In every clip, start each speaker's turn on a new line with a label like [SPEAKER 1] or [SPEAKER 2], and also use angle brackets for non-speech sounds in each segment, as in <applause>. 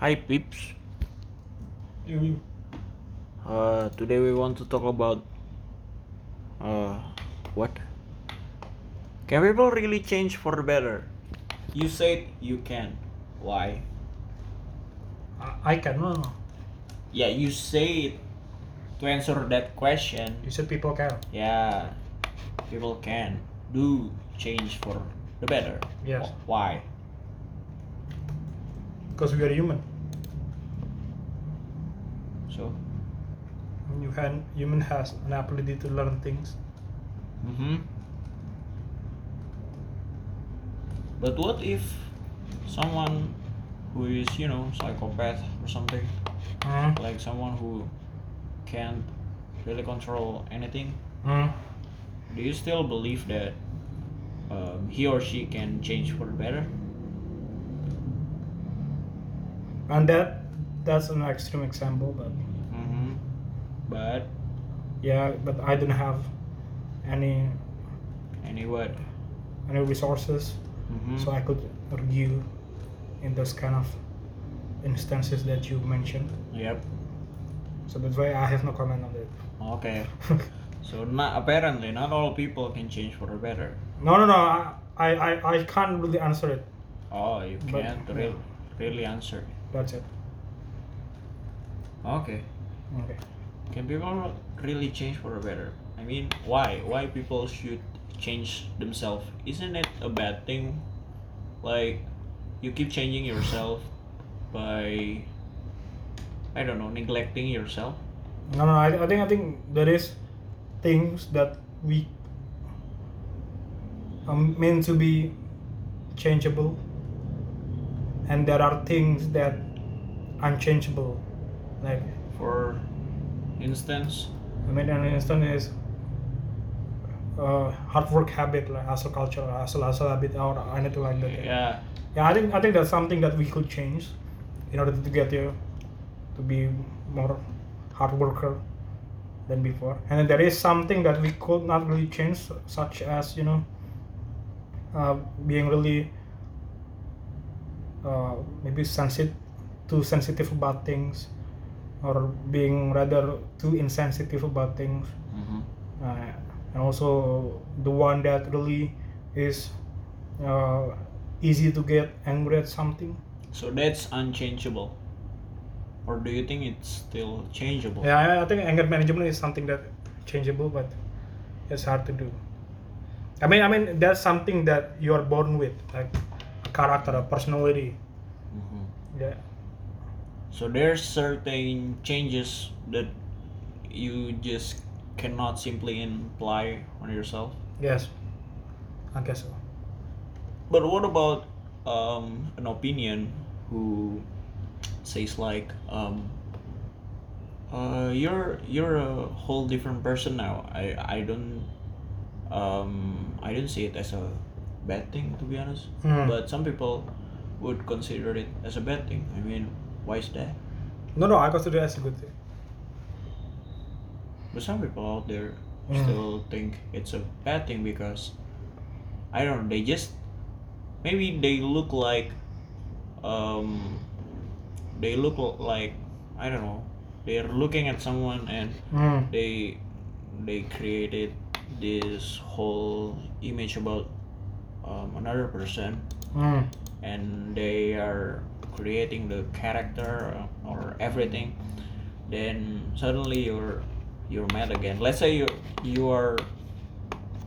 [SPEAKER 1] Hi peeps,
[SPEAKER 2] You
[SPEAKER 1] uh, today we want to talk about uh, what? Can people really change for the better? You said you can. Why?
[SPEAKER 2] I- I can no no.
[SPEAKER 1] Yeah, you said to answer that question.
[SPEAKER 2] You said people can.
[SPEAKER 1] Yeah, people can do change for the better.
[SPEAKER 2] Yes.
[SPEAKER 1] Why?
[SPEAKER 2] Because we are human.
[SPEAKER 1] So.
[SPEAKER 2] And You can human has an ability to learn things.
[SPEAKER 1] Mm-hmm. But what if someone who is, you know, psychopath or something,
[SPEAKER 2] Hmm.
[SPEAKER 1] like someone who can't really control anything,
[SPEAKER 2] Hmm.
[SPEAKER 1] do you still believe that um, he or she can change for the better?
[SPEAKER 2] And that that's an extreme example, but
[SPEAKER 1] Mm-hmm. But
[SPEAKER 2] yeah, but I don't have any
[SPEAKER 1] anyway,
[SPEAKER 2] any resources,
[SPEAKER 1] mm-hmm.
[SPEAKER 2] so I could argue in those kind of instances that you mentioned.
[SPEAKER 1] yep.
[SPEAKER 2] So that's why I have no comment on it. <laughs>
[SPEAKER 1] Okay. So not apparently not all people can change for the better.
[SPEAKER 2] no no no. I, I I I can't really answer it.
[SPEAKER 1] Oh, you
[SPEAKER 2] But-
[SPEAKER 1] can't really, really answer.
[SPEAKER 2] That's it.
[SPEAKER 1] Okay.
[SPEAKER 2] Okay.
[SPEAKER 1] Can people really change for the better? I mean, why? Why people should change themselves? Isn't it a bad thing? Like, you keep changing yourself by, I don't know, neglecting yourself.
[SPEAKER 2] No, no, I, I think I think there is things that we are meant to be changeable, and there are things that unchangeable. Like
[SPEAKER 1] For instance,
[SPEAKER 2] I mean, an instance is uh, hard work habit, like hustle culture, hustle hustle habit, or anything like that.
[SPEAKER 1] yeah,
[SPEAKER 2] Yeah, I think I think that's something that we could change in order to get there to be more hard worker than before. And then there is something that we could not really change, such as you know, uh, being really uh, maybe sensitive, too sensitive about things, or being rather too insensitive about things
[SPEAKER 1] mm-hmm.
[SPEAKER 2] uh, and also the one that really is uh, easy to get angry at something.
[SPEAKER 1] so that's unchangeable. Or do you think it's still changeable?
[SPEAKER 2] Yeah, I- I think anger management is something that changeable, but it's hard to do. I mean, I mean that's something that you are born with, like a character, a personality.
[SPEAKER 1] Mm-hmm.
[SPEAKER 2] Yeah,
[SPEAKER 1] So there's certain changes that you just cannot simply imply on yourself.
[SPEAKER 2] yes, I guess so.
[SPEAKER 1] But what about um, an opinion who says like, um, uh, "You're you're a whole different person now. I I don't um, I don't see it as a bad thing to be honest.
[SPEAKER 2] Hmm.
[SPEAKER 1] But some people would consider it as a bad thing. I mean, why is that?
[SPEAKER 2] No, no, I consider it as a good thing.
[SPEAKER 1] But some people out there
[SPEAKER 2] Mm.
[SPEAKER 1] still think it's a bad thing because I don't know, they just maybe they look like um they look like I don't know. They're looking at someone and
[SPEAKER 2] Mm.
[SPEAKER 1] they they created this whole image about um, another person
[SPEAKER 2] Mm.
[SPEAKER 1] and they are creating the character or everything then suddenly you're you're mad again let's say you you are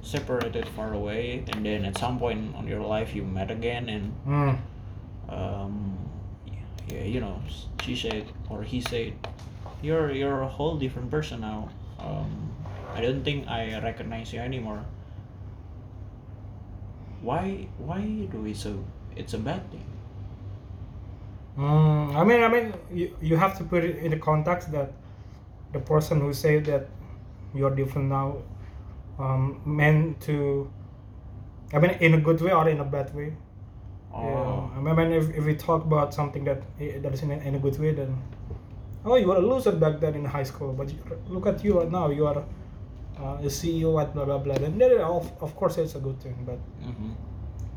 [SPEAKER 1] separated far away and then at some point on your life you met again and
[SPEAKER 2] Mm.
[SPEAKER 1] um yeah you know she said or he said you're you're a whole different person now um i don't think i recognize you anymore why why do we so it's a bad thing
[SPEAKER 2] Mm, I mean, I mean, you, you have to put it in the context that the person who said that you're different now um, meant to, I mean, in a good way or in a bad way.
[SPEAKER 1] Oh,
[SPEAKER 2] Yeah. I mean, I mean, if, if we talk about something that that is in a, in a good way, then oh, you were a loser back then in high school, but you, look at you right now, you are uh, a CEO at blah blah blah. Then then of, of course it's a good thing, but
[SPEAKER 1] hmm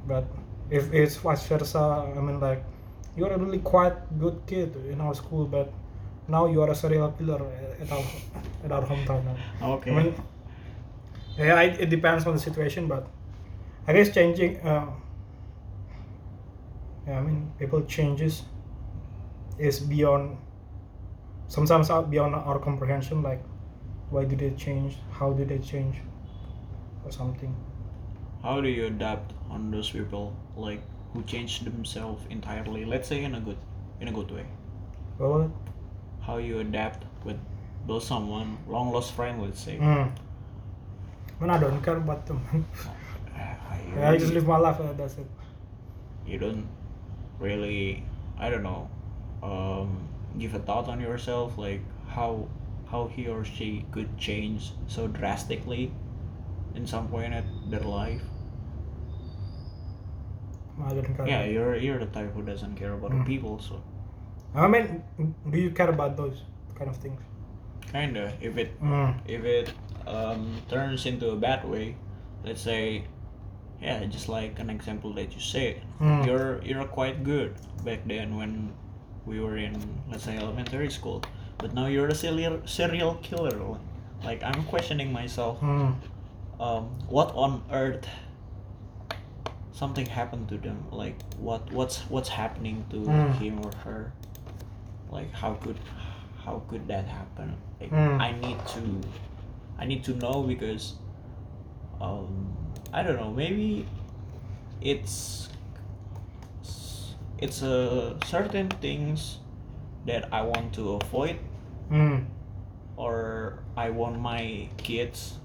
[SPEAKER 2] but if it's vice versa, I mean, like you're a really quite good kid in our school, but now you are a serial killer at our at our hometown. Now.
[SPEAKER 1] Okay.
[SPEAKER 2] I mean, yeah, it, it depends on the situation, but I guess changing. Uh, yeah, I mean, people changes is beyond sometimes out beyond our comprehension. Like, why do they change? How do they change? Or something.
[SPEAKER 1] How do you adapt on those people like who change themselves entirely? Let's say in a good in a good way.
[SPEAKER 2] Well,
[SPEAKER 1] How you adapt with those someone long lost friend, let's say.
[SPEAKER 2] mm, man, I don't care about them. <laughs>
[SPEAKER 1] Uh, you
[SPEAKER 2] I just
[SPEAKER 1] really-
[SPEAKER 2] live my life. Uh, that's it.
[SPEAKER 1] you don't really i don't know um, give a thought on yourself like how how he or she could change so drastically in some point at their life
[SPEAKER 2] I don't care.
[SPEAKER 1] yeah you're you're the type who doesn't care about
[SPEAKER 2] uh, Mm.
[SPEAKER 1] the people so
[SPEAKER 2] I mean, do you care about those kind of things?
[SPEAKER 1] kinda if it
[SPEAKER 2] Mm.
[SPEAKER 1] if it um, turns into a bad way let's say yeah just like an example that you said
[SPEAKER 2] Mm.
[SPEAKER 1] you're you're quite good back then when we were in let's say elementary school but now you're a serial serial killer like i'm questioning myself
[SPEAKER 2] Mm.
[SPEAKER 1] um what on earth something happened to them like what what's what's happening to
[SPEAKER 2] Mm.
[SPEAKER 1] him or her like how could how could that happen like
[SPEAKER 2] Mm.
[SPEAKER 1] i need to i need to know because um i don't know maybe it's it's a certain things that i want to avoid
[SPEAKER 2] Mm.
[SPEAKER 1] or I want my kids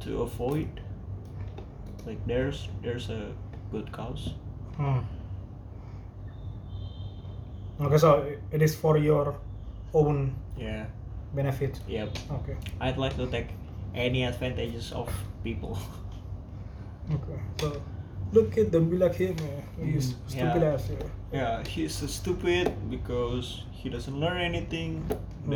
[SPEAKER 1] to avoid. Like there's there's a good cause.
[SPEAKER 2] Hmm. Okay, so it is for your own
[SPEAKER 1] Yeah.
[SPEAKER 2] benefit.
[SPEAKER 1] Yep.
[SPEAKER 2] Okay.
[SPEAKER 1] I'd like to take any advantages of people. <laughs>
[SPEAKER 2] Okay. So look at them, be like him. Uh, you
[SPEAKER 1] Mm,
[SPEAKER 2] stupid
[SPEAKER 1] yeah.
[SPEAKER 2] ass. Yeah.
[SPEAKER 1] Yeah, he's stupid because he doesn't learn anything.